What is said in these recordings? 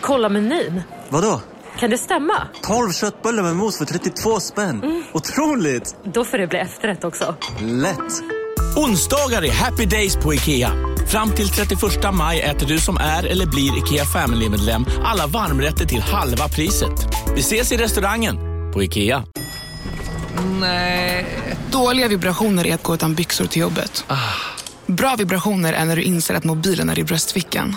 Kolla menyn. Vadå? Kan det stämma? 12 köttbullar med mos för 32 spänn. Otroligt! Då får det bli efterrätt också. Lätt! Onsdagar är happy days på IKEA. Fram till 31 maj äter du som är eller blir IKEA Family-medlem alla varmrätter till halva priset. Vi ses i restaurangen på IKEA. Nej. Dåliga vibrationer är att gå utan byxor till jobbet. Bra vibrationer är när du inser att mobilen är i bröstfickan.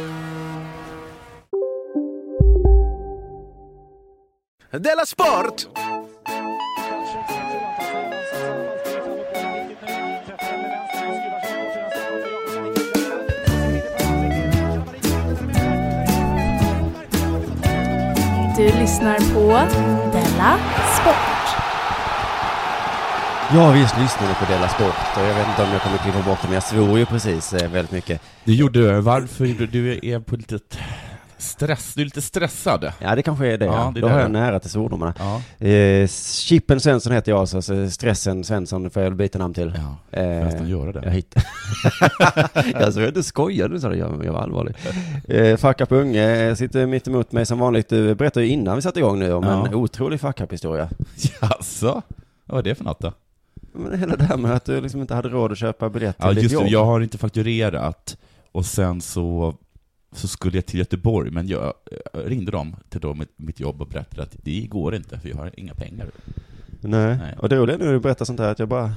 Della Sport! Du lyssnar på Della Sport. Ja, visst lyssnade på Della Sport och jag vet inte om jag kommer klippa bort det, men jag svor ju precis eh, väldigt mycket. Det gjorde du. Varför gjorde du? Du är på lite stress. Du är lite stressad. Ja, det kanske är det. Ja, Ja, det är Då det. har jag nära till svordomarna. Ja. Eh, Chippen Svensson heter jag alltså, så Stressen Svensson får jag byta namn till. Ja, Eh, får nästan göra det. Jag hittade... alltså, jag inte skojade, så jag, jag var allvarlig. Eh, fuck up unge eh, sitter mitt emot mig som vanligt. Du berättade ju innan vi satte igång nu om Ja. en otrolig fuck up historia. Jaså? Vad var det för något då? Men hela det här med att du liksom inte hade råd att köpa biljett till Ja, ditt just jobb. det. Jag har inte fakturerat. Och sen så, så skulle jag till Göteborg, men jag eh, ringde dem till då mitt, mitt jobb och berättade att det går inte, för jag har inga pengar. Nej. Nej. och det roliga nu när du berättar sånt här att jag bara,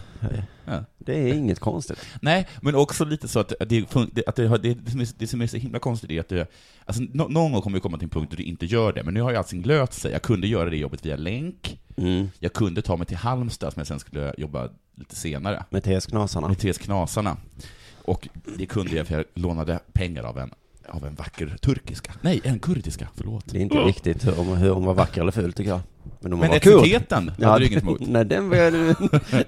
Ja. det är inget konstigt. Nej, men också lite så att det, fun- det- att det, har- det, som är, det som är så himla konstigt är att det, alltså, nå- någon gång kommer vi komma till en punkt då du inte gör det, men nu har ju allting löst sig. Jag kunde göra det jobbet via länk, Mm, jag kunde ta mig till Halmstad som jag sen skulle jobba lite senare, Med TS Knasarna. med Therese Knasarna. Och det kunde jag för jag lånade pengar av en, av en vacker turkiska. Nej, en kurdiska, förlåt. Det är inte viktigt hur hon, hur hon var vacker eller ful tycker jag. Men hon Men var kurd. etiketten hade du inget emot? nej, den vill, jag,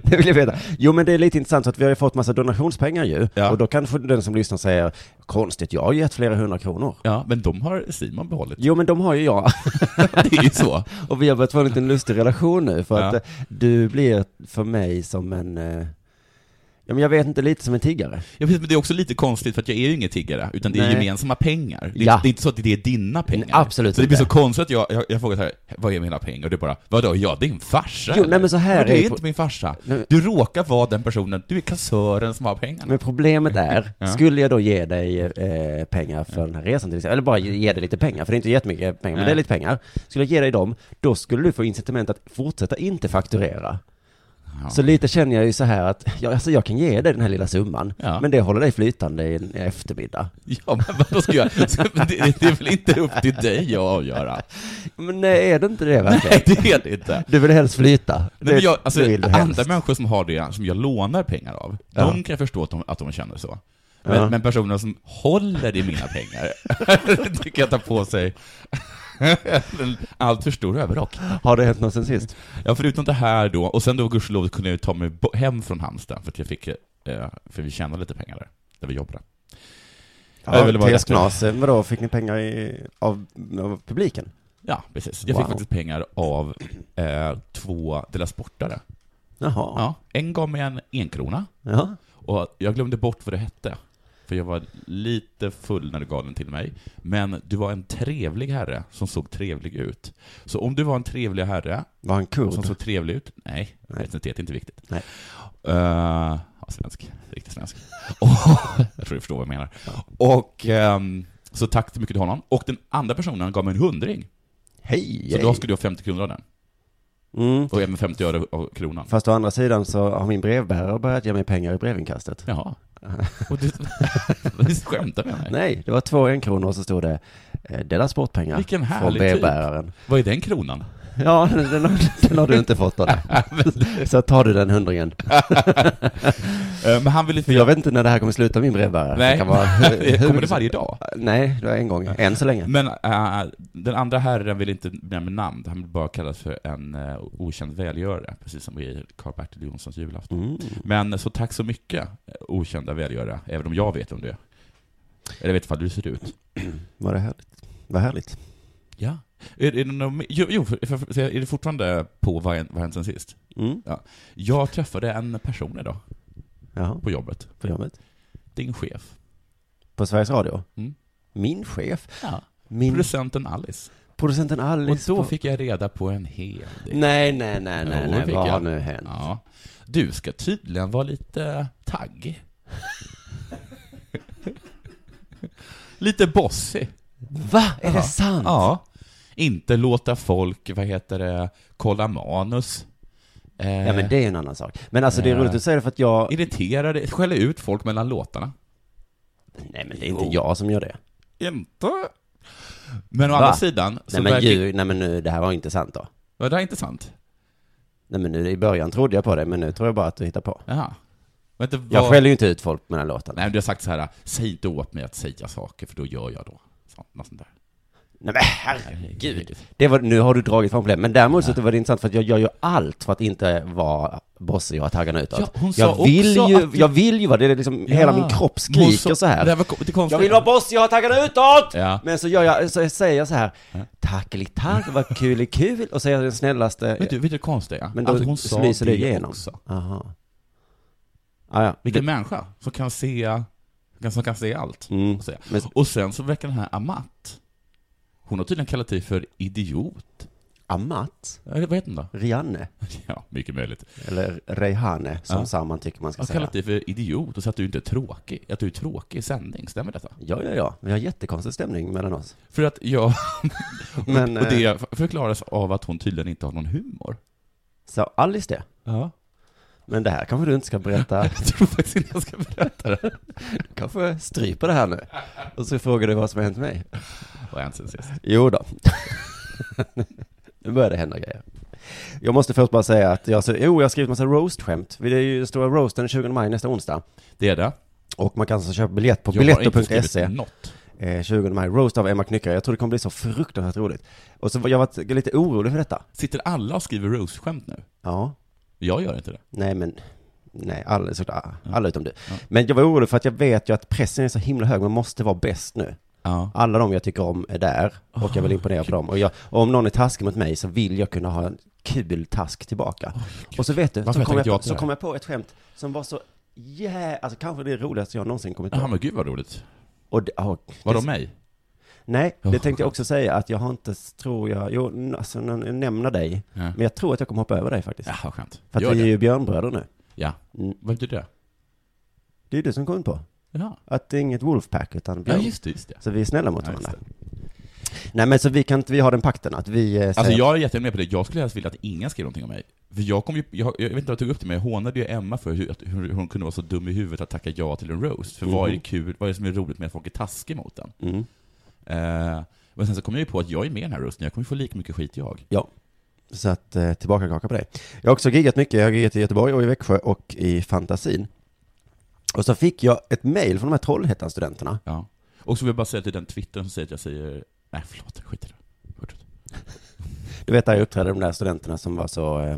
det vill jag veta. Jo, men det är lite intressant så att vi har ju fått massa donationspengar ju. Ja. Och då kanske den som lyssnar säger, konstigt, jag har gett flera hundra kronor. Ja, men de har Simon behållit. Jo, men de har ju jag. Det är ju så. Och vi har börjat få en liten lustig relation nu, för Ja. att eh, du blir för mig som en, eh, ja men jag vet inte, lite som en tiggare. Ja, precis, men det är också lite konstigt för att jag är ju ingen tiggare, utan det är Nej. gemensamma pengar. Det är, Ja. det är inte så att det är dina pengar. Nej, absolut så det blir så inte. konstigt att jag, jag, jag frågar så här, vad är mina pengar? Och du bara, vadå, ja din farsa Jo, eller?" nej, men så här "Men är Du är ju- inte min farsa. Nej. Du råkar vara den personen, du är kassören som har pengarna. Men problemet är, Ja. skulle jag då ge dig eh, pengar för den här resan till exempel, eller bara ge dig lite pengar, för det är inte jättemycket pengar, men Nej. det är lite pengar. Skulle jag ge dig dem, då skulle du få incitament att fortsätta inte fakturera. Ja. Så lite känner jag ju så här att, ja, alltså jag kan ge dig den här lilla summan, Ja. men det håller dig flytande i en eftermiddag. Ja, men vadå ska jag? så- men Det, det är väl inte upp till dig att avgöra? Men nej, är det inte det verkligen? Nej, det är det inte. Du vill helst flyta. Nej, men jag, alltså, det vill du andra helst. människor som har det, som jag lånar pengar av, de kan jag förstå att de, att de känner så. Men, Ja. men personer som håller i mina pengar, tycker jag tar på sig en alltför stor överrock. Har det hänt något sen sist? Ja, förutom det här då, och sen då gudskelov kunde jag ju ta mig bo- hem från Halmstad, för att jag fick, eh, för vi tjänade lite pengar där, där vi jobbade. Jag Ja, ville vara Therese bättre. Knas, eh, vadå, fick ni pengar i, av, av publiken? Ja, precis. Jag Wow. fick faktiskt pengar av eh, två Della Sportare. Jaha. Ja, en gav mig en enkrona, ja. Och jag glömde bort vad det hette. För jag var lite full när du gav den till mig. Men du var en trevlig herre som såg trevlig ut. Så om du var en trevlig herre Var han kurd? som såg trevlig ut, nej, Nej. etnicitet är inte viktigt. Nej. Eh, ja, svensk, riktigt svensk. Och, jag tror du förstår vad jag menar. Och ehm, så tack så mycket till honom. Och den andra personen gav mig en hundring. Hej! Så då skulle jag ha 50 kronor av den. Mm. Och även 50 öre av kronan. Fast å andra sidan så har min brevbärare börjat ge mig pengar i brevinkastet. Jaha. Och du, du skämtar med mig? Nej, det var två enkronor och så stod det eh, Dela sportpengar Vilken från härlig typ. brevbäraren. Vad är den kronan? Ja, den, den, har, den har du inte fått av dig. Så tar du den hundringen. Eh, Men han vill inte... För jag vet inte när det här kommer sluta min brevbärare. Nej. Det kan vara, Kommer det varje dag? Nej, det var en gång. Än så länge. Men eh, den andra herren vill inte nämna namn, han vill bara kallas för en eh, okänd välgörare, precis som i Karl-Bertil Jonssons julafton. Mm. Men så tack så mycket, eh, okända välgörare, även om jag vet om det är. Eller vet vad du ser ut. Var det härligt? Vad härligt. Ja. Är, är, det, någon, jo, jo, för, för, för, är det fortfarande på vad har hänt sen sist? Mm. Jag träffade en person idag Jaha, på jobbet. på jobbet. Din chef. På Sveriges Radio. Mm. Min chef. Ja. Min Producenten Alice. producenten Alice. Och då på- fick jag reda på en hel del. Nej, nej, nej, Jo, nej, det nej. fick Vad jag. har nu hänt? Ja. Du ska tydligen vara lite taggig. lite bossig. Va? Är det sant? Ja. Inte låta folk, vad heter det, kolla manus. Eh, Ja, men det är en annan sak. Men alltså det är Eh. roligt att du säger det för att jag... Irritera dig, skälla ut folk mellan låtarna. Nej, men det är inte jag som gör det. Inte. Men å andra sidan, så Nej men, verkar... ju, nej men nu, det här var inte sant då. Var det här intressant? Nej men nu, i början trodde jag på det, men nu tror jag bara att du hittar på. Jaha. Vet du Jag vad- skäller ju inte ut folk mellan låtarna. Nej, men du har sagt så här, säg inte åt mig att säga saker, för då gör jag då. Så, något sånt där. Nej men herregud. Det var, nu har du dragit fram problem. Men däremot så var det intressant för att jag gör ju allt för att inte vara bossig och ha taggarna utåt. Ja, hon sa jag, vill också ju, att du- jag vill ju vara det, är liksom, hela min kropp skriker så, Det här här. var ko- det konstiga. Jag vill vara bossig och ha taggarna utåt! Ja. Men så, gör jag, så säger jag så här, tackelitar, vad kul är kul, och så är jag den snällaste. Vet du, vet du det konstiga? Men då att hon sa lyser det det igenom. också. Aha. Ah, ja. Vilken människa som kan se, som kan se allt. Mm. Och, säga. Men- och sen så verkar den här Amat, hon har tydligen kallat dig för idiot. Amat? Eller vad heter hon då? Rianne? Ja, mycket möjligt. Eller Rejhane, som Ja. Samman tycker man ska Hon har säga. kallat dig för idiot och sagt att du inte är tråkig. Att du är tråkig i sändning, stämmer detta? Ja, ja, ja. Vi har jättekonstig stämning mellan oss. För att jag, Men, eh, och det förklaras av att hon tydligen inte har någon humor. Så Alice det. Ja. Men det här kanske du inte ska berätta. Jag tror faktiskt inte jag ska berätta det. Du kanske stryper det här nu. Och så frågar du vad som har hänt mig. Vad har hänt sen sist? Jo då. nu börjar det hända grejer. Jag måste först bara säga att jag, så, jo, jag har skrivit massa roast-skämt. Det är ju den stora roasten 20 maj nästa onsdag. Det är det. Och man kan alltså köpa biljett på Jag har inte biletto.se. skrivit något. E, eh, 20 maj, roast av Emma Knyckare. Jag tror det kommer bli så fruktansvärt roligt. Och så var jag varit lite orolig för detta. Sitter alla och skriver Rose-skämt nu? Ja, Jag gör inte det. nej men, nej, alla, såklart, alla utom du. Men jag var orolig för att jag vet ju att pressen är så himla hög, man måste vara bäst nu. Ja. Alla de jag tycker om är där och jag vill imponera på dem. Och, jag, och om någon är taskig mot mig så vill jag kunna ha en kul task tillbaka. och så vet du, Varför så har jag kom, tänkt jag, ja till så det kom jag på ett skämt som var så Yeah, alltså kanske det roligaste jag någonsin kommit Jaha, på. men gud vad roligt. Och det, oh, Var det- de mig? Nej, Ja, det tänkte jag skönt. också säga att jag har inte, tror jag, jo, n- alltså n- nämna dig. Ja. Men jag tror att jag kommer hoppa över dig faktiskt. Jaha, skönt. För att Gör vi är det. ju björnbröder nu. Ja. Mm. Vad betyder det? Det är du som kom på. Ja. Att det är inget Wolfpack utan ja, björn. just det, just det. Så vi är snälla mot Ja, just varandra. Nej men så vi kan inte, vi har den pakten att vi eh, säger... Alltså jag är jättegärna med på det, jag skulle helst vilja att ingen skrev någonting om mig. För jag kom ju, jag, jag vet inte vad jag tog upp det, men jag hånade ju Emma för hur, att- hur hon kunde vara så dum i huvudet att tacka ja till en roast. För vad är det kul, vad är det som är roligt med att folk är taskiga mot den? Mhm. Mm. Eh, men sen så kom jag ju på att jag är med i den här roasten, jag kommer ju få lika mycket skit jag. Ja. Så att, eh, tillbaka kaka på dig. Jag har också giggat mycket, jag har giggat i Göteborg och i Växjö och i Fantasin. Och så fick jag ett mail från de här Trollhättan-studenterna. Ja. Och så vill jag bara säga till den twittern som säger att jag säger, nej förlåt, skit i det. Fortsätt. Du vet där jag uppträdde, de där studenterna som var så eh,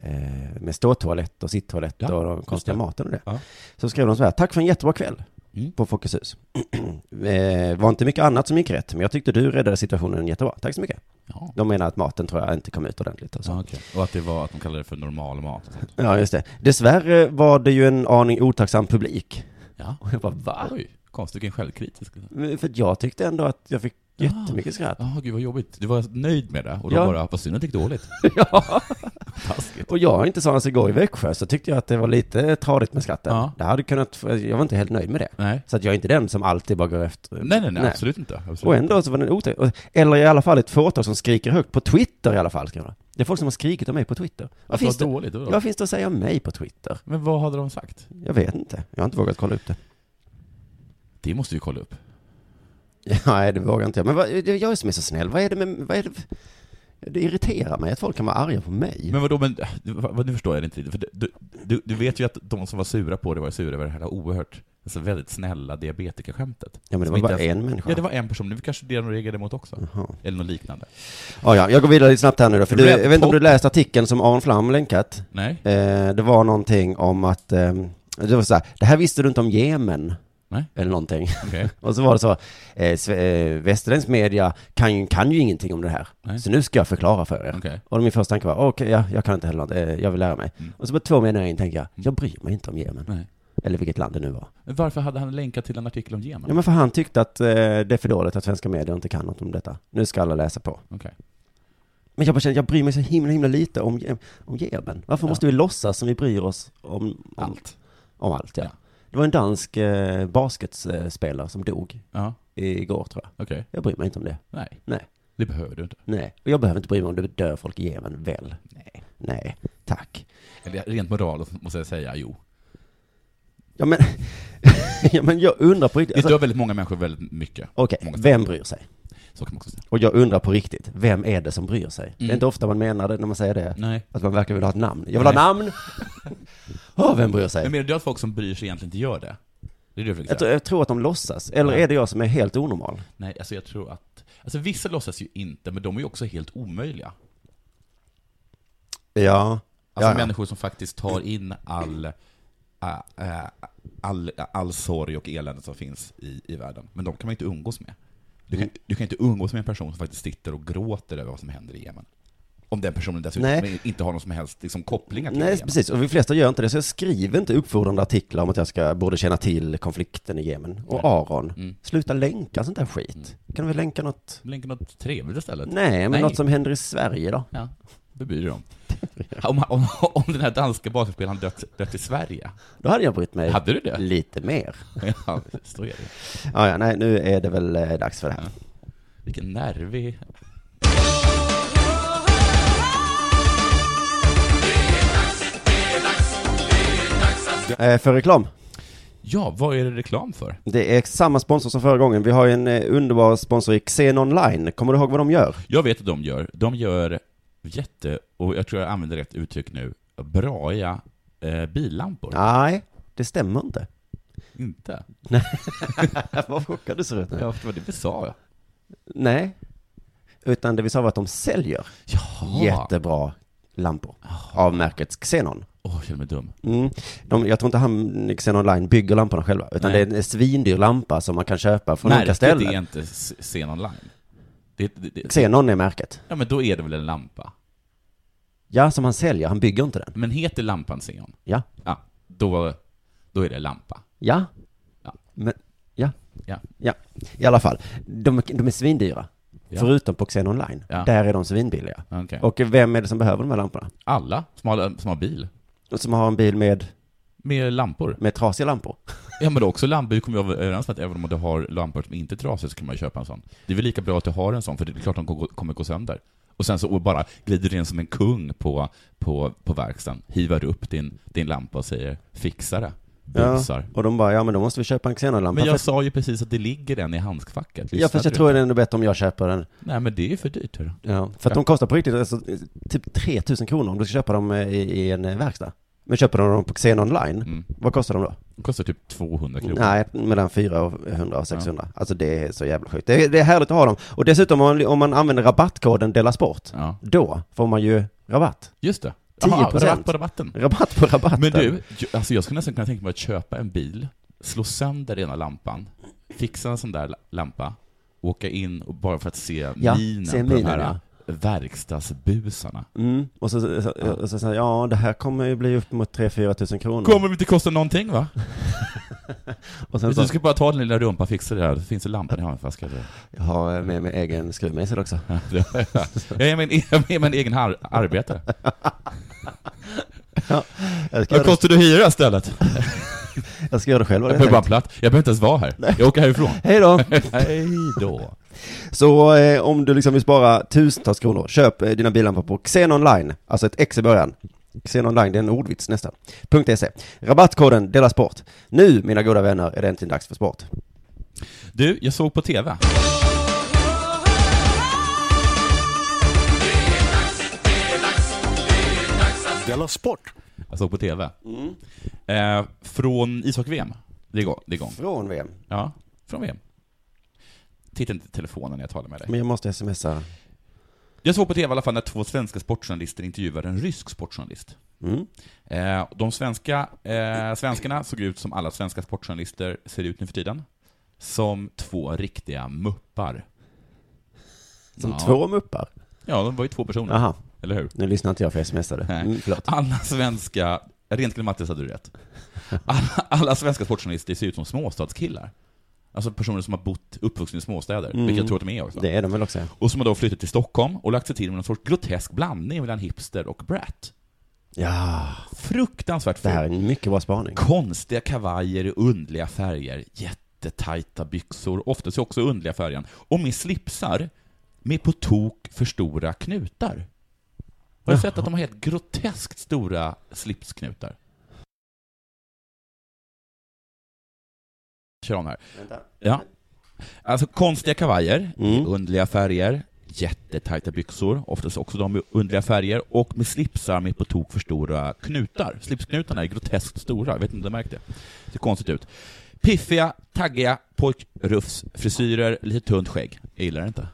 eh, med ståtoalett och sitttoalett Ja, och den konstiga det. maten och det. Ja. Så skrev de så här, tack för en jättebra kväll Mm. på Folkets hus. eh, var inte mycket annat som gick rätt, men jag tyckte du räddade situationen jättebra. Tack så mycket. Ja. De menar att maten tror jag inte kom ut ordentligt och så. Ja, okej. Och att det var att de kallade det för normal mat. och sånt. Ja, just det. Dessvärre var det ju en aning otacksam publik. Ja. Och jag bara, va? Oj, konstigt vilken självkritisk. Men För att jag tyckte ändå att jag fick jättemycket skratt. Ja, gud vad jobbigt. Du var nöjd med det och då Ja. bara, vad synd att det gick dåligt. Ja. Taskigt. Och jag är inte sån som går i Växjö, så tyckte jag att det var lite tradigt med skratten. Ja. Det hade kunnat, jag var inte helt nöjd med det. Nej. Så att jag är inte den som alltid bara går efter. Nej, nej, nej, absolut inte. Absolut. Och ändå så var den otäck. Och- Eller i alla fall ett fåtal som skriker högt på Twitter i alla fall, skriver de. Det är folk som har skrikit om mig på Twitter. Vad Att det finns, var det, dåligt. Det var vad finns det att säga om mig på Twitter? Men vad hade de sagt? Jag vet inte. Jag har inte vågat kolla upp det. Det måste vi kolla upp. Nej, det vågar inte jag. Men vad, det är jag som är så snäll. Vad är det med, vad är det Det irriterar mig att folk kan vara arga på mig. Men vadå, men, vad, nu förstår jag det inte riktigt. För det, du, Du, du vet ju att de som var sura på det var sura över det här oerhört, alltså väldigt snälla diabetikerskämtet. Ja, men det Som var inte bara ens- en människa. Ja, det var en person. Det var kanske det de reagerade mot också. Eller något liknande. Ah, Ja, ja, jag går vidare lite snabbt här nu då, för du, Red jag vet inte om du Pop. läste artikeln som Aron Flam länkat. Nej. Eh, det var någonting om att, eh, det var så här, det här visste du inte om Jemen. Nej. Eller någonting. Okej. Och så var det så, eh, sve- eh, västerländsk media kan ju, kan ju ingenting om det här. Nej. Så nu ska jag förklara för er. Okej. Mm. Och min första tanke var, okej, ja, jag kan inte heller något, eh, jag vill lära mig. Och så på två meningar in tänker jag, jag bryr mig inte om Jemen. Nej. Eller vilket land det nu var. Men varför hade han länkat till en artikel om Ja, Jemen? men för han tyckte att eh, det är för dåligt att svenska medier inte kan något om detta. Nu ska alla läsa på. Okej. Men jag bara känner, jag bryr mig så himla, himla lite om, Jem- om Jemen. Varför måste vi låtsas som vi bryr oss om, om Allt. Om allt, ja. Ja. Det var en dansk eh, basketspelare som dog Ja, igår, tror jag. okej. Jag bryr mig inte om det. Nej, Nej. det behöver du inte. Nej. Och jag behöver inte bry mig om det dör folk i Jemen, väl? Nej. Nej, tack. Eller rent moraliskt måste jag säga, jo. Ja, men, ja, men jag undrar på riktigt. Det Alltså, dör väldigt många människor väldigt mycket. Okej, Många vem bryr sig? Så kan man också säga. Och jag undrar på riktigt, vem är det som bryr sig? Det är Mm. inte ofta man menar det när man säger det. Nej. Att man verkar vilja ha ett namn. Jag vill ha namn! Åh, vem bryr sig? Men menar du att folk som bryr sig egentligen inte gör det? Det är det du försöker Jag säga? tror, jag tror att de låtsas. Eller Ja. är det jag som är helt onormal? Nej, alltså jag tror att... Alltså vissa låtsas ju inte, men de är ju också helt omöjliga. Ja. Alltså Ja, ja. människor som faktiskt tar in all, äh, äh, all, all sorg och elände som finns i, i världen. Men de kan man inte umgås med. Du kan, du kan inte umgås med en person som faktiskt sitter och gråter över vad som händer i Yemen. Om den personen dessutom Nej. inte har någon som helst liksom, kopplingar till Nej, Yemen. precis. Och de flesta gör inte det, så jag skriver inte uppfordrande artiklar om att jag ska, borde känna till konflikten i Jemen. Och Aron, Mm. sluta länka sånt där skit. Kan vi länka något? Länka något trevligt istället. Nej, men något som händer i Sverige då? Ja, det bryr dig om. Om, om, om den här danska basketspelaren dött, dött i Sverige, Då hade jag brytt mig hade du det? lite mer. Ja, så är det. Ja, ja, nej, nu är det väl eh, dags för det här. Vilken nervig... Eh, för reklam. Ja, vad är det reklam för? Det är samma sponsor som förra gången. Vi har ju en eh, underbar sponsor i Xen Online. Kommer du ihåg vad de gör? Jag vet att de gör. De gör jätte, och jag tror jag använder rätt uttryck nu, braiga eh, billampor. Nej, det stämmer inte. Inte? Vad chockad du ser ut nu. Ja, det var det vi sa. Nej, utan det vi sa var att de säljer. Jaha. Jättebra lampor. Av märket Xenon. Åh, jag känner mig dum. Mm. De, jag tror inte han, Xenon Line, bygger lamporna själva. Utan Nej. det är en svindyr lampa som man kan köpa från olika Märket ställen. är inte s- Sen online. Det, det, det. Xenon är märket. Ja, men då är det väl en lampa? Ja, som han säljer. Han bygger inte den. Men heter lampan Xenon? Ja. Ja, då, då är det lampa. Ja. Ja. Men, ja. Ja. Ja. I alla fall. De, de är svindyra. Ja. Förutom på Xenon Line. Ja. Där är de svinbilliga. Okej. Och vem är det som behöver de här lamporna? Alla som har, som har bil. De Som har en bil med, Med lampor. med trasiga lampor. Ja men också lampor, vi kommer ju överens om att även om du har lampor som inte är trasiga så kan man ju köpa en sån. Det är väl lika bra att du har en sån, för det är klart de kommer gå- kommer gå sönder. Och sen så bara glider du in som en kung på, på, på verkstaden, hivar upp din, din lampa och säger ”fixa det”, busar. Och de bara, ja men då måste vi köpa en Xenon-lampa. Men jag för- sa ju precis att det ligger en i handskfacket. Ja, fast jag tror det är ändå bättre om jag köper den. Nej men det är för dyrt. hörru. Ja, för att de kostar på riktigt alltså, typ 3000 kronor om du ska köpa dem eh, i, i en eh, verkstad. Men köper du dem på Xen online, Mm. vad kostar de då? Det kostar typ 200 kronor. Nej, mellan 400 och 600. Alltså det är så jävla sjukt. Det är, det är härligt att ha dem. Och dessutom om man, om man använder rabattkoden Della Sport, Ja, då får man ju rabatt. just det. Jaha, 10%. rabatt på rabatten. Rabatt på rabatten. Mm. Men du, ju- alltså jag skulle nästan kunna tänka mig att köpa en bil, slå sönder ena lampan, fixa en sån där la- lampa, åka in och bara för att se Ja, minen se på de minen, här verkstadsbusarna. Mm, och så säger så, och så, säger jag, ja det här kommer ju bli upp mot 3-4 tusen kronor. Kommer det inte kosta någonting va? Och sen så Du ska bara ta den lilla rumpan, fixa det här, det finns en lampa i handflaskan. jag har med mig egen skruvmejsel också. Jag är min, jag är min egen har- arbetare. Jag ska, Vad göra, kostar du hyra istället? det, jag ska göra det själv. Jag behöver bara en platt. Jag behöver inte ens vara här. Jag åker härifrån. Hej då! Hej då. Så eh, om du liksom vill spara tusentals kronor, köp eh, dina billampor på Xen Online, alltså ett X i början. Xen Online, det är en ordvits nästan. .se. Rabattkoden Dela Sport. Nu, mina goda vänner, är det äntligen dags för sport. Du, jag såg på TV. Della Sport. jag såg på TV. Eh, från ishockey-VM. Det är igång. Det är igång. Från VM. Ja, från VM. Titta inte i telefonen när jag talar med dig. Men jag måste smsa. Jag såg på TV i alla fall när två svenska sportjournalister intervjuade en rysk sportjournalist. Mm. Eh, de svenska eh, svenskarna såg ut som alla svenska sportjournalister ser ut nu för tiden. Som två riktiga muppar. Som Ja. två muppar. Ja, de var ju två personer, Aha. eller hur? Nu lyssnar inte jag för jag smsade. Nej. Mm, förlåt. Alla svenska, rent Mattis hade du rätt. Alla, alla svenska sportjournalister ser ut som småstadskillar. Alltså personer som har bott, uppvuxna i småstäder, vilket jag tror att de är också. Mm. Det är de väl också. Och som har då flyttat till Stockholm och lagt sig till med någon sorts grotesk blandning mellan hipster och brat. Ja, Fruktansvärt det här är fult. en mycket bra spaning. Konstiga kavajer i underliga färger, jättetajta byxor, oftast i också underliga färgen, och med slipsar med på tok för stora knutar. Har du sett att de har helt groteskt stora slipsknutar? Kör om här. Ja. Alltså konstiga kavajer, i Mm. underliga färger, jättetajta byxor, oftast också de i underliga färger, och med slipsar med på tok för stora knutar. Slipsknutarna är groteskt stora, jag vet inte om du märkt det. Ser konstigt ut. Piffiga, taggiga, pojkrufsfrisyrer, lite tunt skägg. Jag gillar det inte.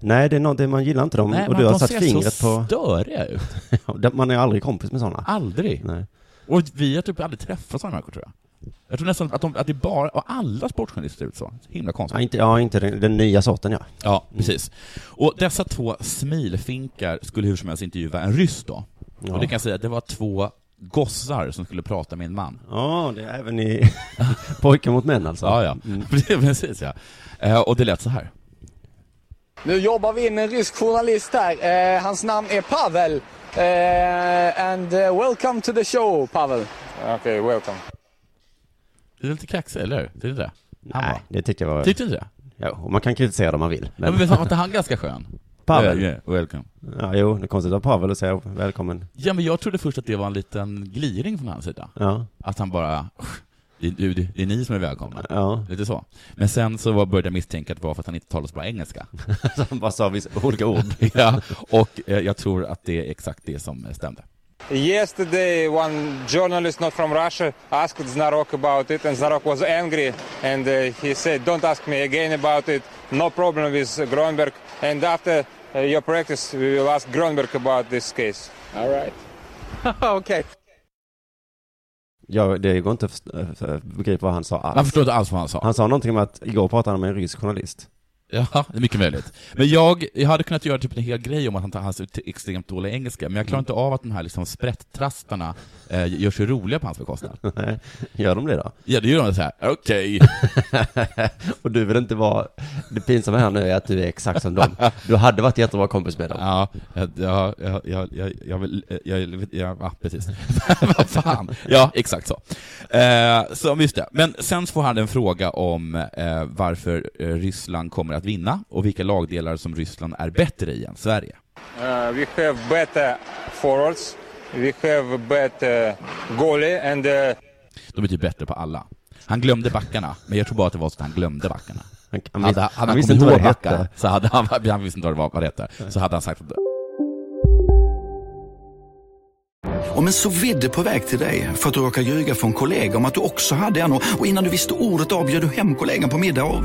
Nej, det är något, det- man gillar inte dem. Nej, Mm, och men du har de satt ser fingret så på... störiga ut. Man är aldrig kompis med sådana. Aldrig. Nej. Och vi har typ aldrig träffat sådana människor, tror jag. Jag tror nästan att, de, att det är bara, och alla sportjournalister ser ut så. Himla konstigt. Ja, inte, ja, inte den, den nya sorten ja. Ja, precis. Och dessa två smilfinkar skulle hur som helst intervjua en ryss då. Ja, Och det kan jag säga, det var två gossar som skulle prata med en man. Ja, det är även i pojkar mot män alltså. Ja, ja. precis ja. Eh, Och det lät så här. Nu jobbar vi in en rysk journalist här. Eh, hans namn är Pavel. Eh, and eh, welcome to the show, Pavel. Okej, welcome. Det är lite kaxigt, eller hur? Det är det. Han Nej, bara, det tycker jag var... Tyckte du inte det? Ja, och man kan kritisera dem man vill. Ja, Men, men ja, visst var inte han ganska skön? Pavel. Eh, yeah, welcome. jo, det är konstigt av Pavel att säga välkommen. Ja, men jag trodde först att det var en liten gliring från hans sida. Ja, Att han bara, det är, det är ni som är välkomna. ja. Lite så. Men sen så var- började jag misstänka att det var för att han inte talade så bra engelska. Så han bara sa vissa olika ord. ja, och eh, jag tror att det är exakt det som eh, stämde. Yesterday, one journalist not from Russia asked Znarok about it, and Znarok was angry, and uh, he said, "Don't ask me again about it. No problem with Gronberg. And after uh, your practice, we will ask Gronberg about this case." All right. okay. Ja, det går inte att först- äh, begripa vad han sa Man alls. förstår inte alls vad han sa. Han sa någonting om att igår pratade han med en rysk journalist. Ja, det är mycket möjligt. Men jag, jag hade kunnat göra typ en hel grej om att han tar hans ut- extremt dåliga engelska, men jag klarar inte av att de här liksom sprättrastarna eh, gör sig roliga på hans bekostnad. Gör de det då? Ja, det gör de så här. okej. Och du vill inte vara... Det pinsamma här nu är att du är exakt som dem. Du hade varit jättebra kompis med dem. Ja, jag, jag, jag, jag, jag, jag vill, eh, jag, jag, jag, ja, precis. Vad fan. Ja, exakt så. Eh, så, just det. Men sen så får han en fråga om eh, varför eh, Ryssland kommer att vinna och vilka lagdelar som Ryssland är bättre i än Sverige. Uh, we have better forwards. We have better goalie, and uh, De är typ bättre på alla. Han glömde backarna, men jag tror bara att det var så att han glömde backarna. Han, han, Hade, visste- hade han, han visste kommit inte vad ihåg det hette. backar, så hade han, han visste inte vad det var, vad det hette, så hade han sagt att Om en så vidde på väg till dig för att du råkar ljuga från kollega om att du också hade en och och innan du visste ordet av bjöd du hem kollegan på middag och...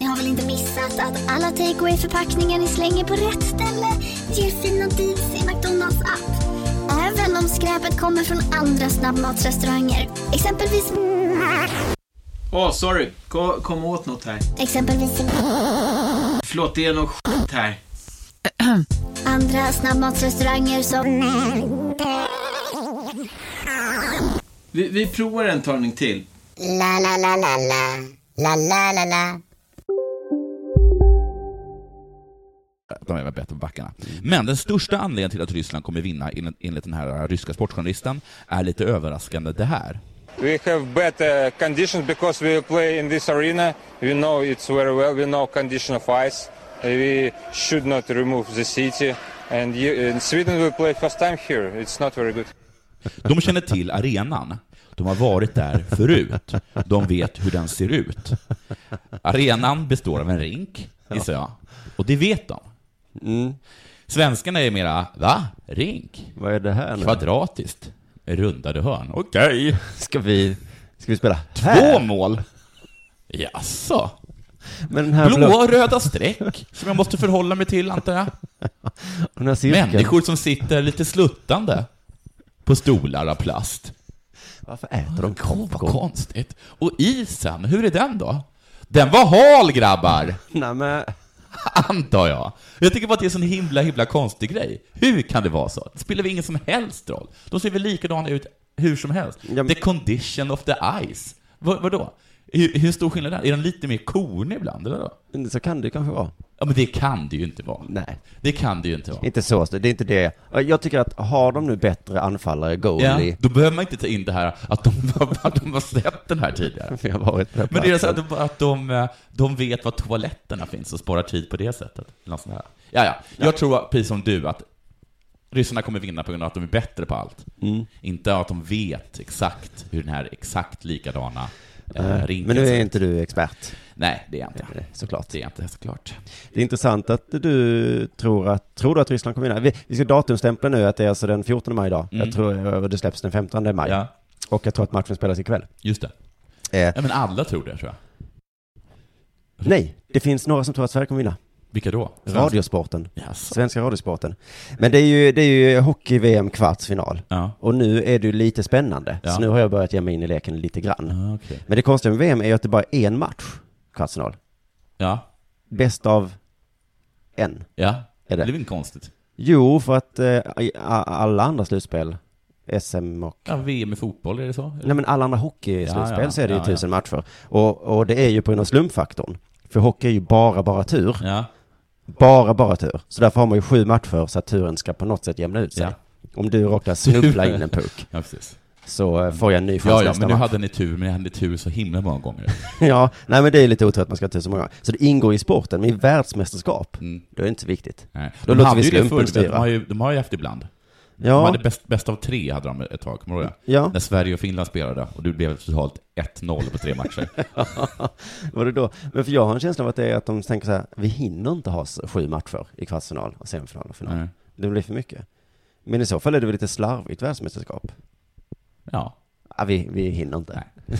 Ni har väl inte missat att alla takeaway förpackningar ni slänger på rätt ställe ger fina deals i McDonalds app. Även om skräpet kommer från andra snabbmatsrestauranger. Exempelvis... Åh, sorry. Kom, kom åt något här. Exempelvis... Förlåt, det är något skit här. Andra snabbmatsrestauranger som... Vi, vi provar en talning till. La, la, la, la, la. La, la, la, la. Äh, de är bättre på backarna. Men den största anledningen till att Ryssland kommer vinna enligt- enligt den här ryska sportjournalisten är lite överraskande det här. we have better conditions because we play in this arena. We know it's very well. We know condition of ice. Uh, We should not remove the city. And you, in Sweden we play first time here. It's not very good. De känner till arenan. De har varit där förut. De vet hur den ser ut. Arenan består av en rink, gissar jag. Och det vet de. Mm. Svenskarna är mera, va? Rink? Vad är det här nu? Kvadratiskt. Rundade hörn. Okej. Ska vi, ska vi spela Två här? mål? Jaså? Men den här Blåa och blå- röda streck som jag måste förhålla mig till, antar jag. Den här cirkeln. Människor som sitter lite sluttande på stolar av plast. Varför äter de Vad konstigt. Och isen, hur är den då? Den var hal, grabbar! Nej, men... Antar jag. Jag tycker bara att det är en sån himla, himla konstig grej. Hur kan det vara så? Det spelar väl ingen som helst roll? De ser väl likadana ut hur som helst? The condition of the ice. Vad, vadå? Hur, hur stor skillnad är det? Är den lite mer kornig ibland, eller? Vad Så kan det kanske vara. Ja, men det kan det ju inte vara. Nej. Det kan det ju inte vara. Inte så, det är inte det. Eh, Jag tycker att har de nu bättre anfallare, goalie, Ja, då behöver man inte ta in det här att de, att de har sett den här tidigare. Vi har varit på den Men det är så platsen. att, de, att de, eh, de vet var toaletterna finns och sparar tid på det sättet. Eller något sånt här. Ja, ja. Jag tror, precis som du, att ryssarna kommer vinna på grund av att de är bättre på allt. Mm. Inte att de vet exakt hur den här exakt likadana eh, Nej, rinken Men nu ser är ut. inte du expert. eh, Nej, det är jag inte. Såklart. Det är jag inte, såklart. Det är intressant att du tror att, tror du att Ryssland kommer vinna? Vi, vi ska datumstämpla nu att det är alltså den 14 maj idag. Mm. Jag tror eh, det släpps den 15 maj. Ja. Och jag tror att matchen spelas ikväll. Just det. Eh, Ja, men alla tror det, tror jag. nej, det finns några som tror att Sverige kommer vinna. Vilka då? Radiosporten. Jaså. Svenska Radiosporten. Men det är ju, det är ju hockey-VM kvartsfinal. Ja. Och nu är det ju lite spännande. Ja. Så nu har jag börjat ge mig in i leken lite grann. Ja, Ah, okej. Men det konstiga med VM är ju att det bara är en match kvartsfinal. Ja, Bäst av en. ja. Är Det det? är väl inte konstigt. Jo, för att eh, i- a- alla andra slutspel, SM och... Ja, VM i fotboll, är det så? Nej men alla andra hockeyslutspel Ja, ja, så är det ju ja, ja. tusen matcher. Och, och det är ju på grund av slumpfaktorn. För hockey är ju bara, bara tur. Ja. Bara, bara tur. Så därför har man ju sju matcher så att turen ska på något sätt jämna ut sig. Ja. Om du råkar snubbla in en puck Ja, precis. så eh, får jag en ny chans Ja, ja, nästa men nu match. hade ni tur, men ni hade tur så himla många gånger. ja, nej men det är lite otur att man ska ha tur så många gånger. Så det ingår i sporten, men i världsmästerskap, Mm. då är det inte så viktigt. Nej. Då De låter hade vi ju det slumpen förut, men de styra. har ju, de har ju haft ibland. De Ja, hade bäst, bäst av tre hade de ett tag, kommer du ihåg det? Ja. När Sverige och Finland spelade och det blev totalt 1-0 på tre matcher. var det då? Men för jag har en känsla av att det är att de tänker så här, vi hinner inte ha s- sju matcher i kvartsfinal och semifinal och final. Nej. Det blir för mycket. Men i så fall är det väl lite slarvigt världsmästerskap? Ja. Ja, vi, vi hinner inte.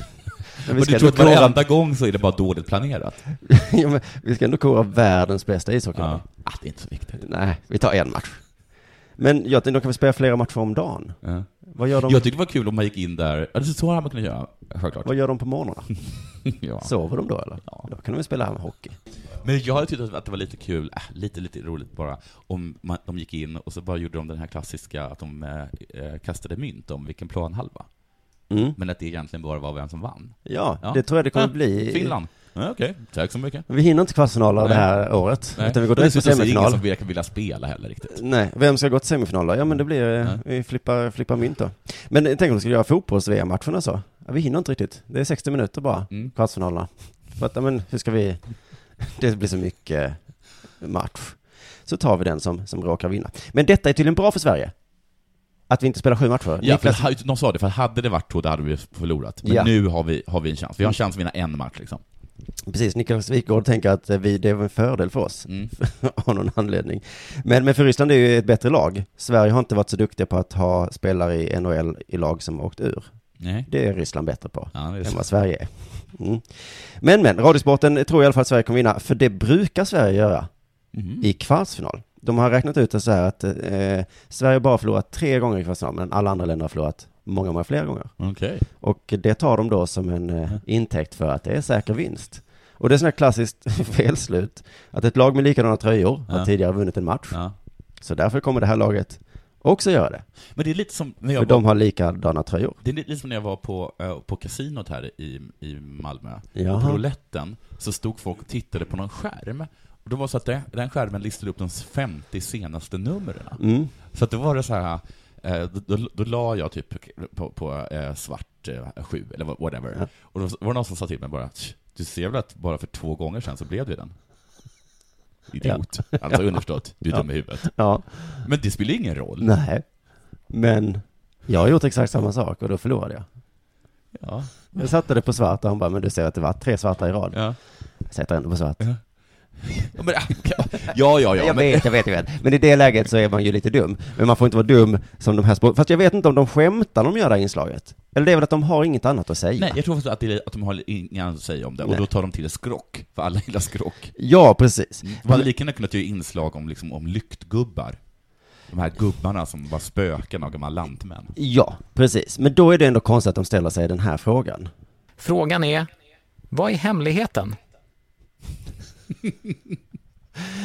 Men Men du tror att varenda gång så är det bara dåligt planerat? ja, men vi ska ändå kora världens bästa ishockeylag. Ja. Ah, det är inte så viktigt. Nej, vi tar en match. Men jag tänkte, de kan väl spela flera matcher om dagen? Ja. Vad gör de, Jag tyckte det var kul om man gick in där, alltså, så hade man kunnat göra, självklart. vad gör de på morgnarna? Ja. Sover de då eller? Då kan de väl spela hockey. Men jag hade tyckt att det var lite kul, äh, lite, lite roligt bara, om man, de gick in och så bara gjorde de den här klassiska att de eh, eh, kastade mynt om vilken planhalva. Mm. Men att det egentligen bara var vem som vann. Ja, Ja. det tror jag det kommer Ja, bli. Finland. Ja, Okej, tack så mycket. Vi hinner inte kvartsfinaler det Nej. här året, Nej. utan vi går Och direkt på dessutom så är det ingen semifinal. som verkar vilja spela heller riktigt. Nej, vem ska gå till semifinaler? Ja men det blir, eh, Nej. vi flippar, flippar mynt då. Men eh, tänk om vi skulle göra fotbolls-VM-matcherna så? Ja, vi hinner inte riktigt. Det är 60 minuter bara, Mm. kvartsfinalerna. För att, ja, men hur ska vi, det blir så mycket eh, match. Så tar vi den som, som råkar vinna. Men detta är tydligen bra för Sverige. Att vi inte spelar sju matcher. Ja, för Niklas, ha- de sa det, för hade det varit så, då hade vi förlorat. Men Ja. Mm. nu har vi, har vi en chans. Vi har en chans att vinna en match liksom. precis, Niklas Wikgård tänker att eh, vi, det är en fördel för oss. Mm. av någon anledning. Men, men för Ryssland är ju ett bättre lag. Sverige har inte varit så duktiga på att ha spelare i NHL i lag som har åkt ur. Nej. Det är Ryssland bättre på Ja, det är än så. vad Sverige är. Mm. Men men, Radiosporten tror i alla fall att Sverige kommer vinna, för det brukar Sverige göra Mhm. i kvartsfinal. De har räknat ut det så här att eh, Sverige bara förlorat tre gånger i kvartsfinal, men alla andra länder har förlorat många, många fler gånger. Okej. Och det tar de då som en Mm. eh, intäkt för att det är säker vinst. Och det är sådana här klassiskt felslut, att ett lag med likadana tröjor har Ja. tidigare vunnit en match. Ja. Så därför kommer det här laget också göra det. Men det är lite som när jag För var de har likadana tröjor. Det är lite som när jag var på, eh, på kasinot här i, i Malmö. Jaha. Och På rouletten så stod folk och tittade på någon skärm. Och då var det så att det, den skärmen listade upp de 50 senaste numren. Mm. Så att då var det så här, eh, då, då, då la jag typ på, på eh, svart eh, sju, eller whatever. Och då var det någon som sa till mig bara, "Tch, du ser väl att bara för två gånger sedan så blev du den. Idiot. Ja. Alltså Ja. underförstått, du är Ja. dum i huvudet. Ja. Men det spelar ju ingen roll. Nej. Men jag har gjort exakt samma sak och då förlorade jag. Ja. Jag satte det på svart och hon bara, men du ser att det var tre svarta i rad. Ja. Jag sätter ändå på svart. Ja, men, ja, ja, ja. Jag men- vet, jag vet, jag vet. Men i det läget så är man ju lite dum. Men man får inte vara dum som de här sport... Fast jag vet inte om de skämtar när de gör det här inslaget. Eller det är väl att de har inget annat att säga. Nej, jag tror faktiskt att, det är, att de har inget annat att säga om det, och Nej. då tar de till skrock, för alla gillar skrock. Ja, precis. De hade lika gärna kunnat göra inslag om, liksom, om lyktgubbar. De här gubbarna som var spöken av gamla lantmän. Ja, precis. Men då är det ändå konstigt att de ställer sig den här frågan. Frågan är, vad är hemligheten?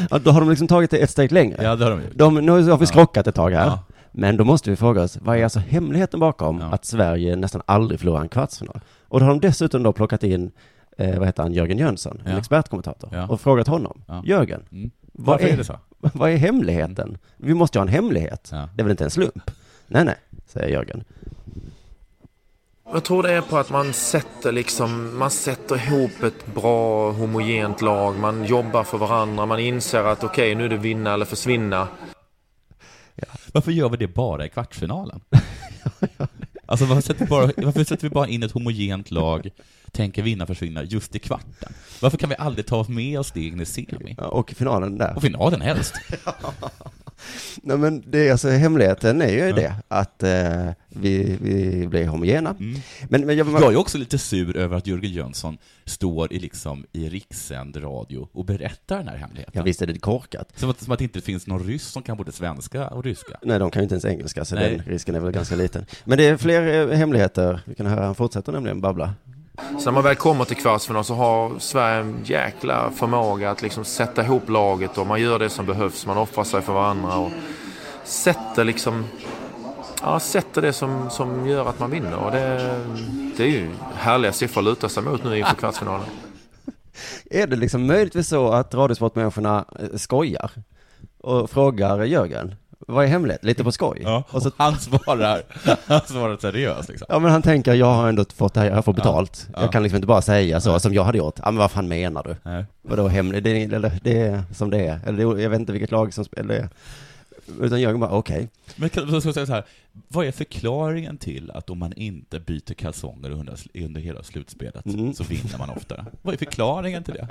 Ja, då har de liksom tagit det ett steg längre. Ja, det har de gjort. De, nu har vi skrockat ett tag här. Men då måste vi fråga oss, vad är alltså hemligheten bakom att Sverige nästan aldrig förlorar en kvartsfinal? Och då har de dessutom då plockat in, eh, vad heter han, Jörgen Jönsson, en Ja. expertkommentator, Ja. och frågat honom, Ja. Jörgen, Mm. Varför är det så? vad är hemligheten? Vi måste ju ha en hemlighet. Det är väl inte en slump? Nej, nej, säger Jörgen. Jag tror det är på att man sätter, liksom, man sätter ihop ett bra homogent lag. Man jobbar för varandra. Man inser att okej, nu är det vinna eller försvinna. Varför gör vi det bara i kvartsfinalen? Alltså varför sätter, vi bara, varför sätter vi bara in ett homogent lag, tänker vinna, försvinna, just i kvarten? Varför kan vi aldrig ta med oss det in i semi? Och finalen där. Och finalen helst. Nej men det är alltså hemligheten är ju det att eh, vi, vi blir homogena. Mm. Men, men jag, Jag är också lite sur över att Jörgen Jönsson står i, liksom, i rikssänd radio och berättar den här hemligheten. Ja, visst är det korkat. Som att, som att det inte finns någon ryss som kan både svenska och ryska. Nej, de kan ju inte ens engelska så Nej. den risken är väl ganska liten. Men det är fler eh, hemligheter. Vi kan höra, han fortsätter nämligen babbla. Så när man väl kommer till kvartsfinal så har Sverige en jäkla förmåga att liksom sätta ihop laget och man gör det som behövs. Man offrar sig för varandra och sätter liksom... Ja, sätter det som, som gör att man vinner. Och det, det är ju härliga siffror att luta sig mot nu inför kvartsfinalen. Är det liksom möjligtvis så att radiosportmänniskorna eh, skojar och frågar Jörgen, vad är hemligt? Lite på skoj. Ja, och han svarar, han svarar seriöst liksom. Ja men han tänker, jag har ändå fått det här, jag får betalt. Ja. Jag kan liksom inte bara säga så som jag hade gjort. Ja men vad fan menar du? Nej. Vadå hemligt? Det, är- eller, det är som det är. Eller det- jag vet inte vilket lag som spelar det. Utan Jörgen bara, okej. Men kan- då ska jag säga så här, vad är förklaringen till att om man inte byter kalsonger under, under hela slutspelet Mhm. så vinner man oftare? Vad är förklaringen till det?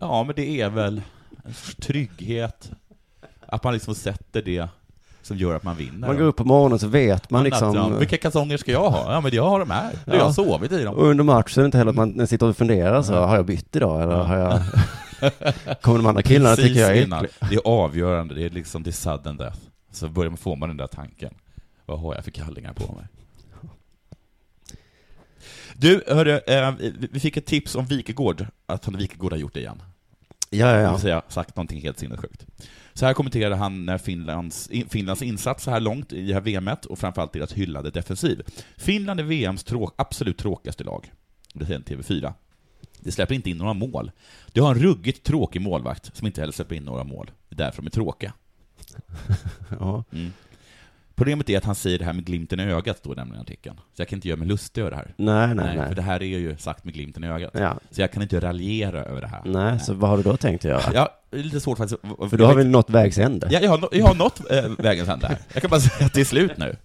Ja, men det är väl en sorts trygghet, att man liksom sätter det som gör att man vinner. Man går upp på morgonen så vet man Annat, ja, liksom... Vilka kalsonger ska jag ha? Ja, men jag har de här. Ja. Jag har sovit i dem. Och under matchen inte heller att man sitter och funderar så, har jag bytt idag eller har jag... Kommer de andra killarna Precis tycker jag är innan. äcklig? Det är avgörande, det är liksom det är sudden death. Så börjar man, får man den där tanken. Vad har jag för kallingar på mig? Du, hörru, eh, vi- vi fick ett tips om Wikegård, att han Wikegård har gjort det igen. Ja, ja, Det ja. vill säga, sagt någonting helt sinnessjukt. Så här kommenterar han eh, Finlands, in- Finlands insats så här långt i det här VMet och framförallt deras hyllade defensiv. Finland är VMs tråk, absolut tråkigaste lag. Det säger TV4. Det släpper inte in några mål. Det har en ruggigt tråkig målvakt som inte heller släpper in några mål. Det är därför de är tråkiga. Ja. Mm. Problemet är att han säger det här med glimten i ögat, står det nämligen i artikeln. Så jag kan inte göra mig lustig över det här. Nej, nej, nej. För det här är ju sagt med glimten i ögat. Ja. Så jag kan inte raljera över det här. Nej, så vad har du då tänkt att göra? Ja, det är lite svårt faktiskt. För då har vi nått vägs ände. Ja, jag har, nå- jag har nått eh, vägens ände här. Jag kan bara säga att det är slut nu.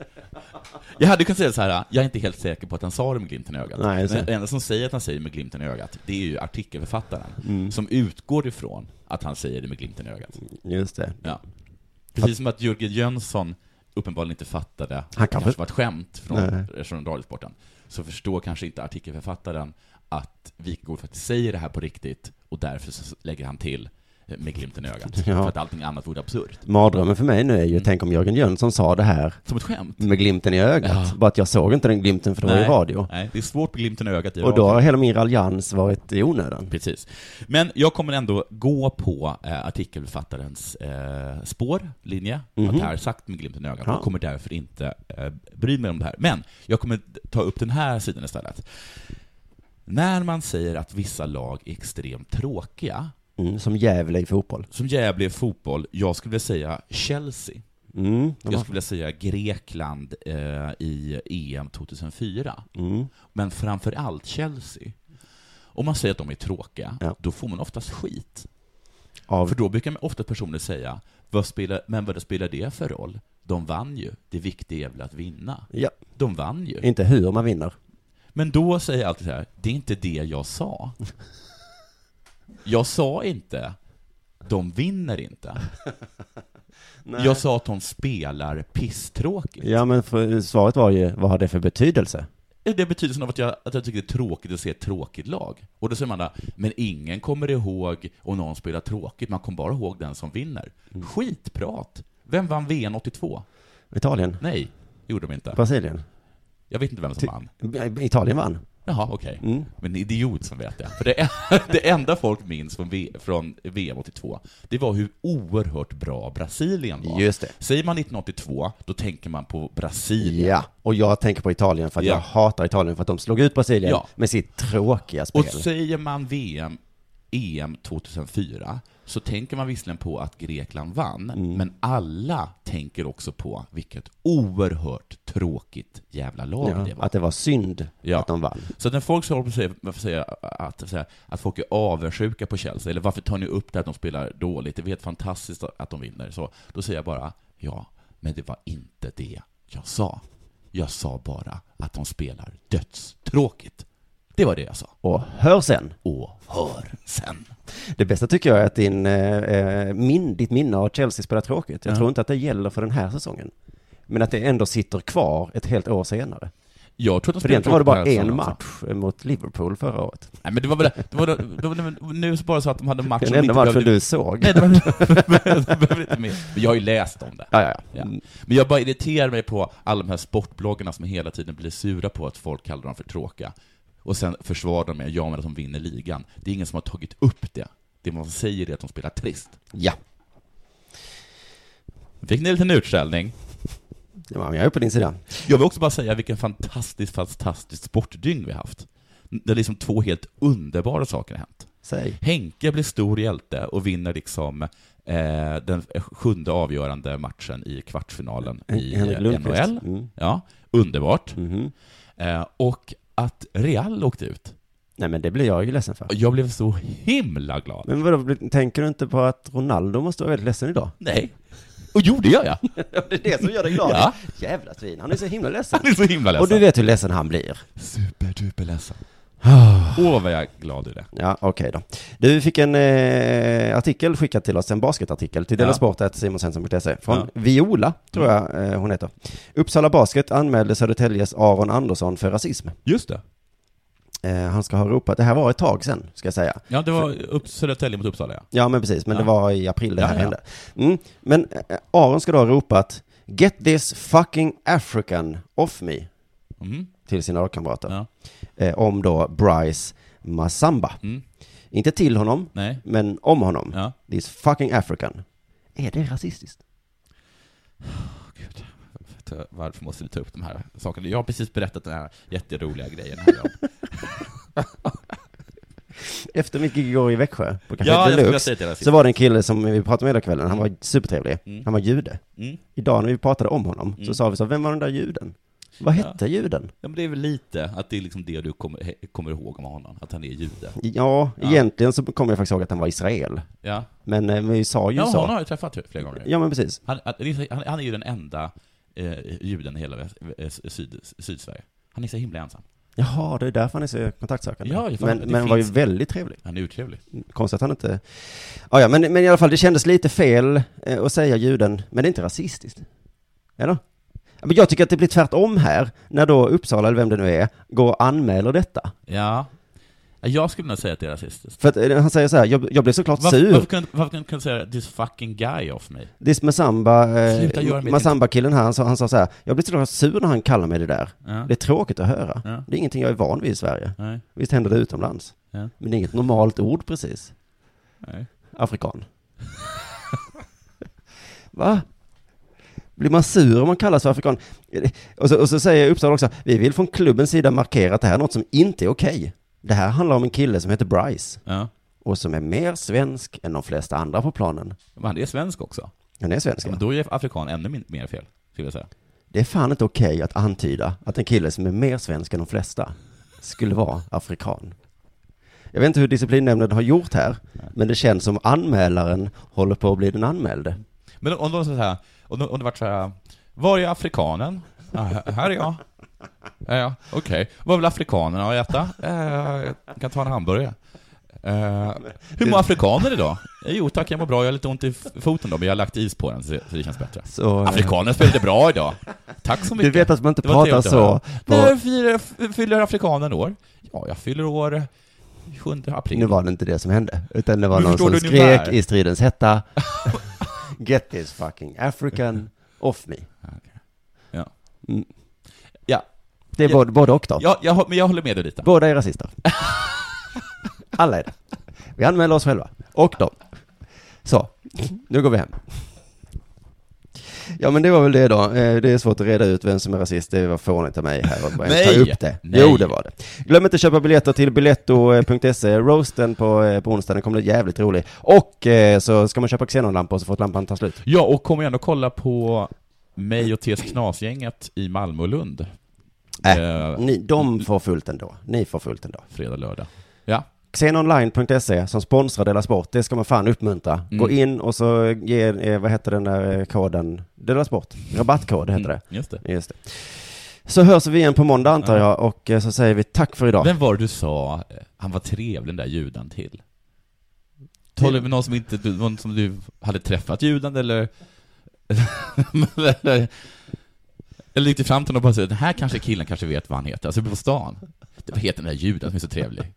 Jag hade kunnat säga så här, jag är inte helt säker på att han sa det med glimten i ögat. Nej, Men just det. det enda som säger att han säger det med glimten i ögat, det är ju artikelförfattaren. Mm. Som utgår ifrån att han säger det med glimten i ögat. Just det. Ja. Precis som att Jörgen Jönsson uppenbarligen inte fattade, han kanske- kanske, kanske var ett skämt från, Nej. från radiosporten, så förstår kanske inte artikelförfattaren att Wikegård faktiskt säger det här på riktigt, och därför så lägger han till eh, med glimten i ögat. Ja. För att allting annat vore absurt. Mardrömmen för mig nu är ju, Mm. tänk om Jörgen Jönsson sa det här. Som ett skämt. Med glimten i ögat. Bara att jag såg inte den glimten för det var Nej, ju radio. Nej, det är svårt med glimten i ögat i Och då radio. har hela min raljans varit i onödan. Precis. Men jag kommer ändå gå på eh, artikelförfattarens eh, spår, linje, Mhm. att det här är sagt med glimten i ögat, Ja. och kommer därför inte eh, bry mig om det här. Men jag kommer ta upp den här sidan istället. När man säger att vissa lag är extremt tråkiga, Mm, som Gävle i fotboll. som Gävle i fotboll, jag skulle vilja säga Chelsea. Mm, de jag har- skulle vilja säga Grekland eh, i EM 2004. Men framför allt Chelsea. Om man säger att de är tråkiga, då får man oftast skit. För då brukar man ofta personer säga, vad spelar, men vad spelar det för roll? De vann ju. Det viktiga är väl att vinna. Ja. De vann ju. Inte hur man vinner. Men då säger jag alltid så här, det är inte det jag sa. Jag sa inte, de vinner inte. Nej. Jag sa att de spelar pisstråkigt. Ja, men för, svaret var ju, vad har det för betydelse? Det är betydelsen av att jag, att jag tycker det är tråkigt att se ett tråkigt lag. Och då säger man där, men ingen kommer ihåg om någon spelar tråkigt, man kommer bara ihåg den som vinner. Mm. Skitprat! Vem vann VM 82? Italien? Nej, gjorde de inte. Brasilien? Jag vet inte vem som vann. Ty- Mm. Italien vann. Jaha, okej. Men en idiot som vet det. För det, det enda folk minns från, v, från VM 82, det var hur oerhört bra Brasilien var. Just det. Säger man 1982, då tänker man på Brasilien. Ja, och jag tänker på Italien för att Ja. jag hatar Italien för att de slog ut Brasilien Ja. med sitt tråkiga spel. Och säger man VM, EM 2004, så tänker man visserligen på att Grekland vann, men alla tänker också på vilket oerhört tråkigt jävla lag Ja, det var. Att det var synd att de vann. Så när folk så håller på att säga, varför säga att, så här, att folk är avundsjuka på Chelsea, eller varför tar ni upp det här att de spelar dåligt, det är helt fantastiskt att de vinner, så, då säger jag bara ja, men det var inte det jag sa. Jag sa bara att de spelar dödstråkigt. Det var det jag sa. Och hör sen. Och hör sen. Det bästa tycker jag är att din, eh, eh, min, ditt minne av att Chelsea spelar tråkigt, jag Ja. tror inte att det gäller för den här säsongen. Men att det ändå sitter kvar ett helt år senare. Jag tror att de För egentligen var det bara spelar tråkigt en den här säsongen match eh, mot Liverpool förra året. Nej men det var väl det var, det var, det var, nu så bara så att de hade en match Den som enda inte matchen behövde- du såg. Nej, det var, det behöver inte mer. Men jag har ju läst om det. Ja, ja, Mm, ja. Men jag bara irriterar mig på alla de här sportbloggarna som hela tiden blir sura på att folk kallar dem för tråkiga. Och sen försvarar de med, ja men att de vinner ligan. Det är ingen som har tagit upp det. Det man säger är att de spelar trist. Ja. Fick ni en liten utskällning? Ja, men jag är på din sida. Jag vill också bara säga vilken fantastisk, fantastisk sportdygn vi har haft. Där liksom två helt underbara saker har hänt. Säg. Henke blir stor hjälte och vinner liksom eh, den sjunde avgörande matchen i kvartsfinalen i Henrik Lundqvist. NHL. Mm. Mm-hmm. Ja, underbart. Eh, och att Real åkte ut. Nej men det blir jag ju ledsen för. Jag blev så himla glad. Men vadå, tänker du inte på att Ronaldo måste vara väldigt ledsen idag? Nej. Och jo, det gör jag. det är det som gör dig glad. Ja. Jävla svin, han är så himla ledsen. Han är så himla ledsen. Och du vet hur ledsen han blir. Superduperledsen. Ah. Åh, vad jag är glad i det. Ja, okej då. Du fick en eh, artikel skickad till oss, en basketartikel, till Ja. delasport.simonsvensson.se från Ja. Mm. Viola, tror jag eh, hon heter. Uppsala Basket anmälde Södertäljes Aron Andersson för rasism. Just det. Eh, han ska ha ropat, det här var ett tag sedan, ska jag säga. Ja, det var upp, Södertälje mot Uppsala, ja. Ja, men precis. Men Ja. det var i april det Ja, här ja. hände. Mm. Men eh, Aron ska då ha ropat Get this fucking African off me Mm. till sina lagkamrater. Eh, om då Bryce Masamba. Inte till honom, Mm. Nej. men om honom. Ja. This fucking African. Är det rasistiskt? Vet du, Varför måste du ta upp de här sakerna? Jag har precis berättat den här jätteroliga grejen här om Efter mitt gig igår i Växjö, på Café Ja, jag skulle vilja Deluxe, säga till det här sist. så var det en kille som vi pratade med hela kvällen, han var supertrevlig, Mm. han var jude. Mm. Idag när vi pratade om honom så Mm. sa vi så, vem var den där juden? Vad hette juden? Ja, men det är väl lite att det är liksom det du kommer, he- kommer ihåg om honom, att han är jude. Ja, egentligen så kommer jag faktiskt ihåg att han var Israel. Ja. Men eh, vi sa ju Ja, så. honom har jag träffat flera gånger. Ja, men precis. Han, han, han- han är ju den enda eh, juden i hela väst, eh, syd, Sydsverige. Han är så himla ensam. Jaha, det är därför han är så kontaktsökande. Ja, det fan- men det men han var ju finns- väldigt trevlig. Han är otrevlig. Konstigt att han inte... Ja, ja men, men i alla fall, det kändes lite fel eh, att säga juden, men det är inte rasistiskt. Eller? Ja, Men jag tycker att det blir tvärtom här, när då Uppsala, eller vem det nu är, går och anmäler detta. Ja. Jag skulle nog säga att det är rasistiskt. För att eh, han säger så här, jag, jag blev såklart Varför, sur. varför kunde varför kunde du säga 'this fucking guy' off mig? This Masamba, Sluta göra eh, mitt Masamba-killen här, han sa, han sa så här, jag blir så sur när han kallar mig det där. Ja. Det är tråkigt att höra. Ja. Det är ingenting jag är van vid i Sverige. Nej. Visst händer det utomlands. Ja. Men det är inget normalt ord precis. Nej. Afrikan. Va? Blir man sur om man kallas för afrikan? Och så, och så säger Uppsala också, vi vill från klubbens sida markera att det här är något som inte är okej. Det här handlar om en kille som heter Bryce. Ja. Och som är mer svensk än de flesta andra på planen. Men han är svensk också. Den är svensk. Men då är afrikan ännu min- mer fel, skulle jag säga. Det är fan inte okej att antyda att en kille som är mer svensk än de flesta skulle vara afrikan. Jag vet inte hur disciplinnämnden har gjort här, men det känns som anmälaren håller på att bli den anmälde. Men om de sa så här, om, de, om det vart så här, var är afrikanen? Ja, här- här är jag. Ja, ja okej. Vad vill afrikanerna ha att äta? Eh, jag kan ta en hamburgare. Eh, hur mår afrikaner idag? Eh, Jo tack, jag mår bra. Jag har lite ont i f- foten då, men jag har lagt is på den så så det känns bättre. Så, eh, Afrikaner spelade bra idag. Tack så Du mycket. vet att man inte Det var pratar trevligt att så höra. på- När fyller, f- fyller afrikanen år? Ja, jag fyller år 7 april. Nu var det inte det som hände, utan det var Men någon som förstår du ungefär? skrek i stridens hetta. Get this fucking African off me. Ja. Mm. Ja. Det är Ja. både, både och då. Ja, jag, hå- men jag håller med dig lite. Båda är rasister. Alla är det. Vi anmäler oss själva. Och dem. Så, nu går vi hem. Ja men det var väl det då. Eh, Det är svårt att reda ut vem som är rasist. Det var fånigt av mig här att bara ens ta Nej! upp det. Nej. Jo det var det. Glöm inte att köpa biljetter till biletto.se. Roasten på, eh, på onsdagen kommer bli jävligt rolig. Och eh, så ska man köpa xenonlampor så fort lampan tar slut. Ja, och kom igen och kolla på mig och TS Knasgänget i Malmö och Lund. Äh, Eh, ni, de får fullt ändå. Ni får fullt ändå. Fredag, lördag. Ja. Xenonline.se E som sponsrar Della Sport, det ska man fan uppmuntra. Mm. Gå in och så ge, eh, vad heter den där eh, koden? Della Sport, rabattkod heter Mm, det. just det. Just det. Så hörs vi igen på måndag antar jag och eh, så säger vi tack för idag. Vem var det du sa, eh, han var trevlig den där juden till? Talar du med någon som inte, du- någon som du hade träffat juden eller? eller, eller gick du fram till någon och bara sa, den här kanske killen kanske vet vad han heter, alltså på stan. Det- Vad heter den där juden som är så trevlig?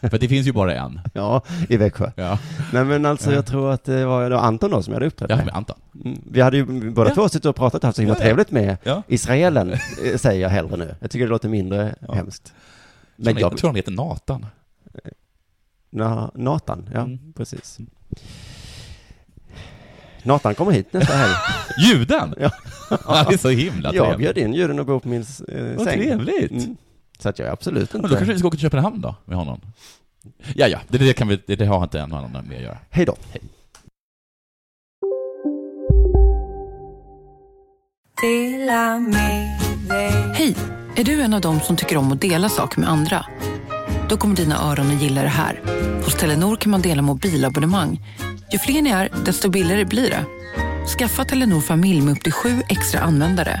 För det finns ju bara en. Ja, i Växjö. Ja. Nej men alltså Ja. jag tror att det var det var Anton då som jag hade uppträtt Ja, med. med Anton. Mm, Vi hade ju båda Ja. två suttit och pratat och haft så himla Ja, ja. trevligt med Ja. Israelen, eh, säger jag hellre nu. Jag tycker det låter mindre hemskt. Men jag tror han heter Nathan. Na, Nathan, Mm. ja precis. Nathan kommer hit nästa helg. Juden? Ja. Han är så himla trevlig. Jag bjöd in juden och bor på min eh, Vad säng. trevligt. Mm. Så att jag är absolut Men inte... då kanske vi ska åka till Köpenhamn då, med honom. Ja, ja, det, det, kan vi, det, det har inte en och annan med att göra. Hej då. Hej! Är du en av dem som tycker om att dela saker med andra? Då kommer dina öron att gilla det här. Hos Telenor kan man dela mobilabonnemang. Ju fler ni är, desto billigare blir det. Skaffa Telenor familj med upp till sju extra användare.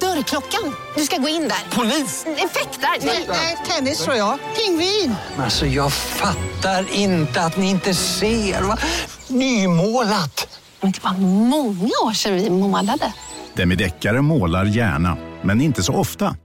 Dörrklockan. Du ska gå in där. Mm, Polis? Effektar? Nej, tennis tror jag. Pingvin. Alltså jag fattar inte att ni inte ser. Va? Nymålat. Men det var många år sedan vi målade. Demideckare målar gärna, men inte så ofta.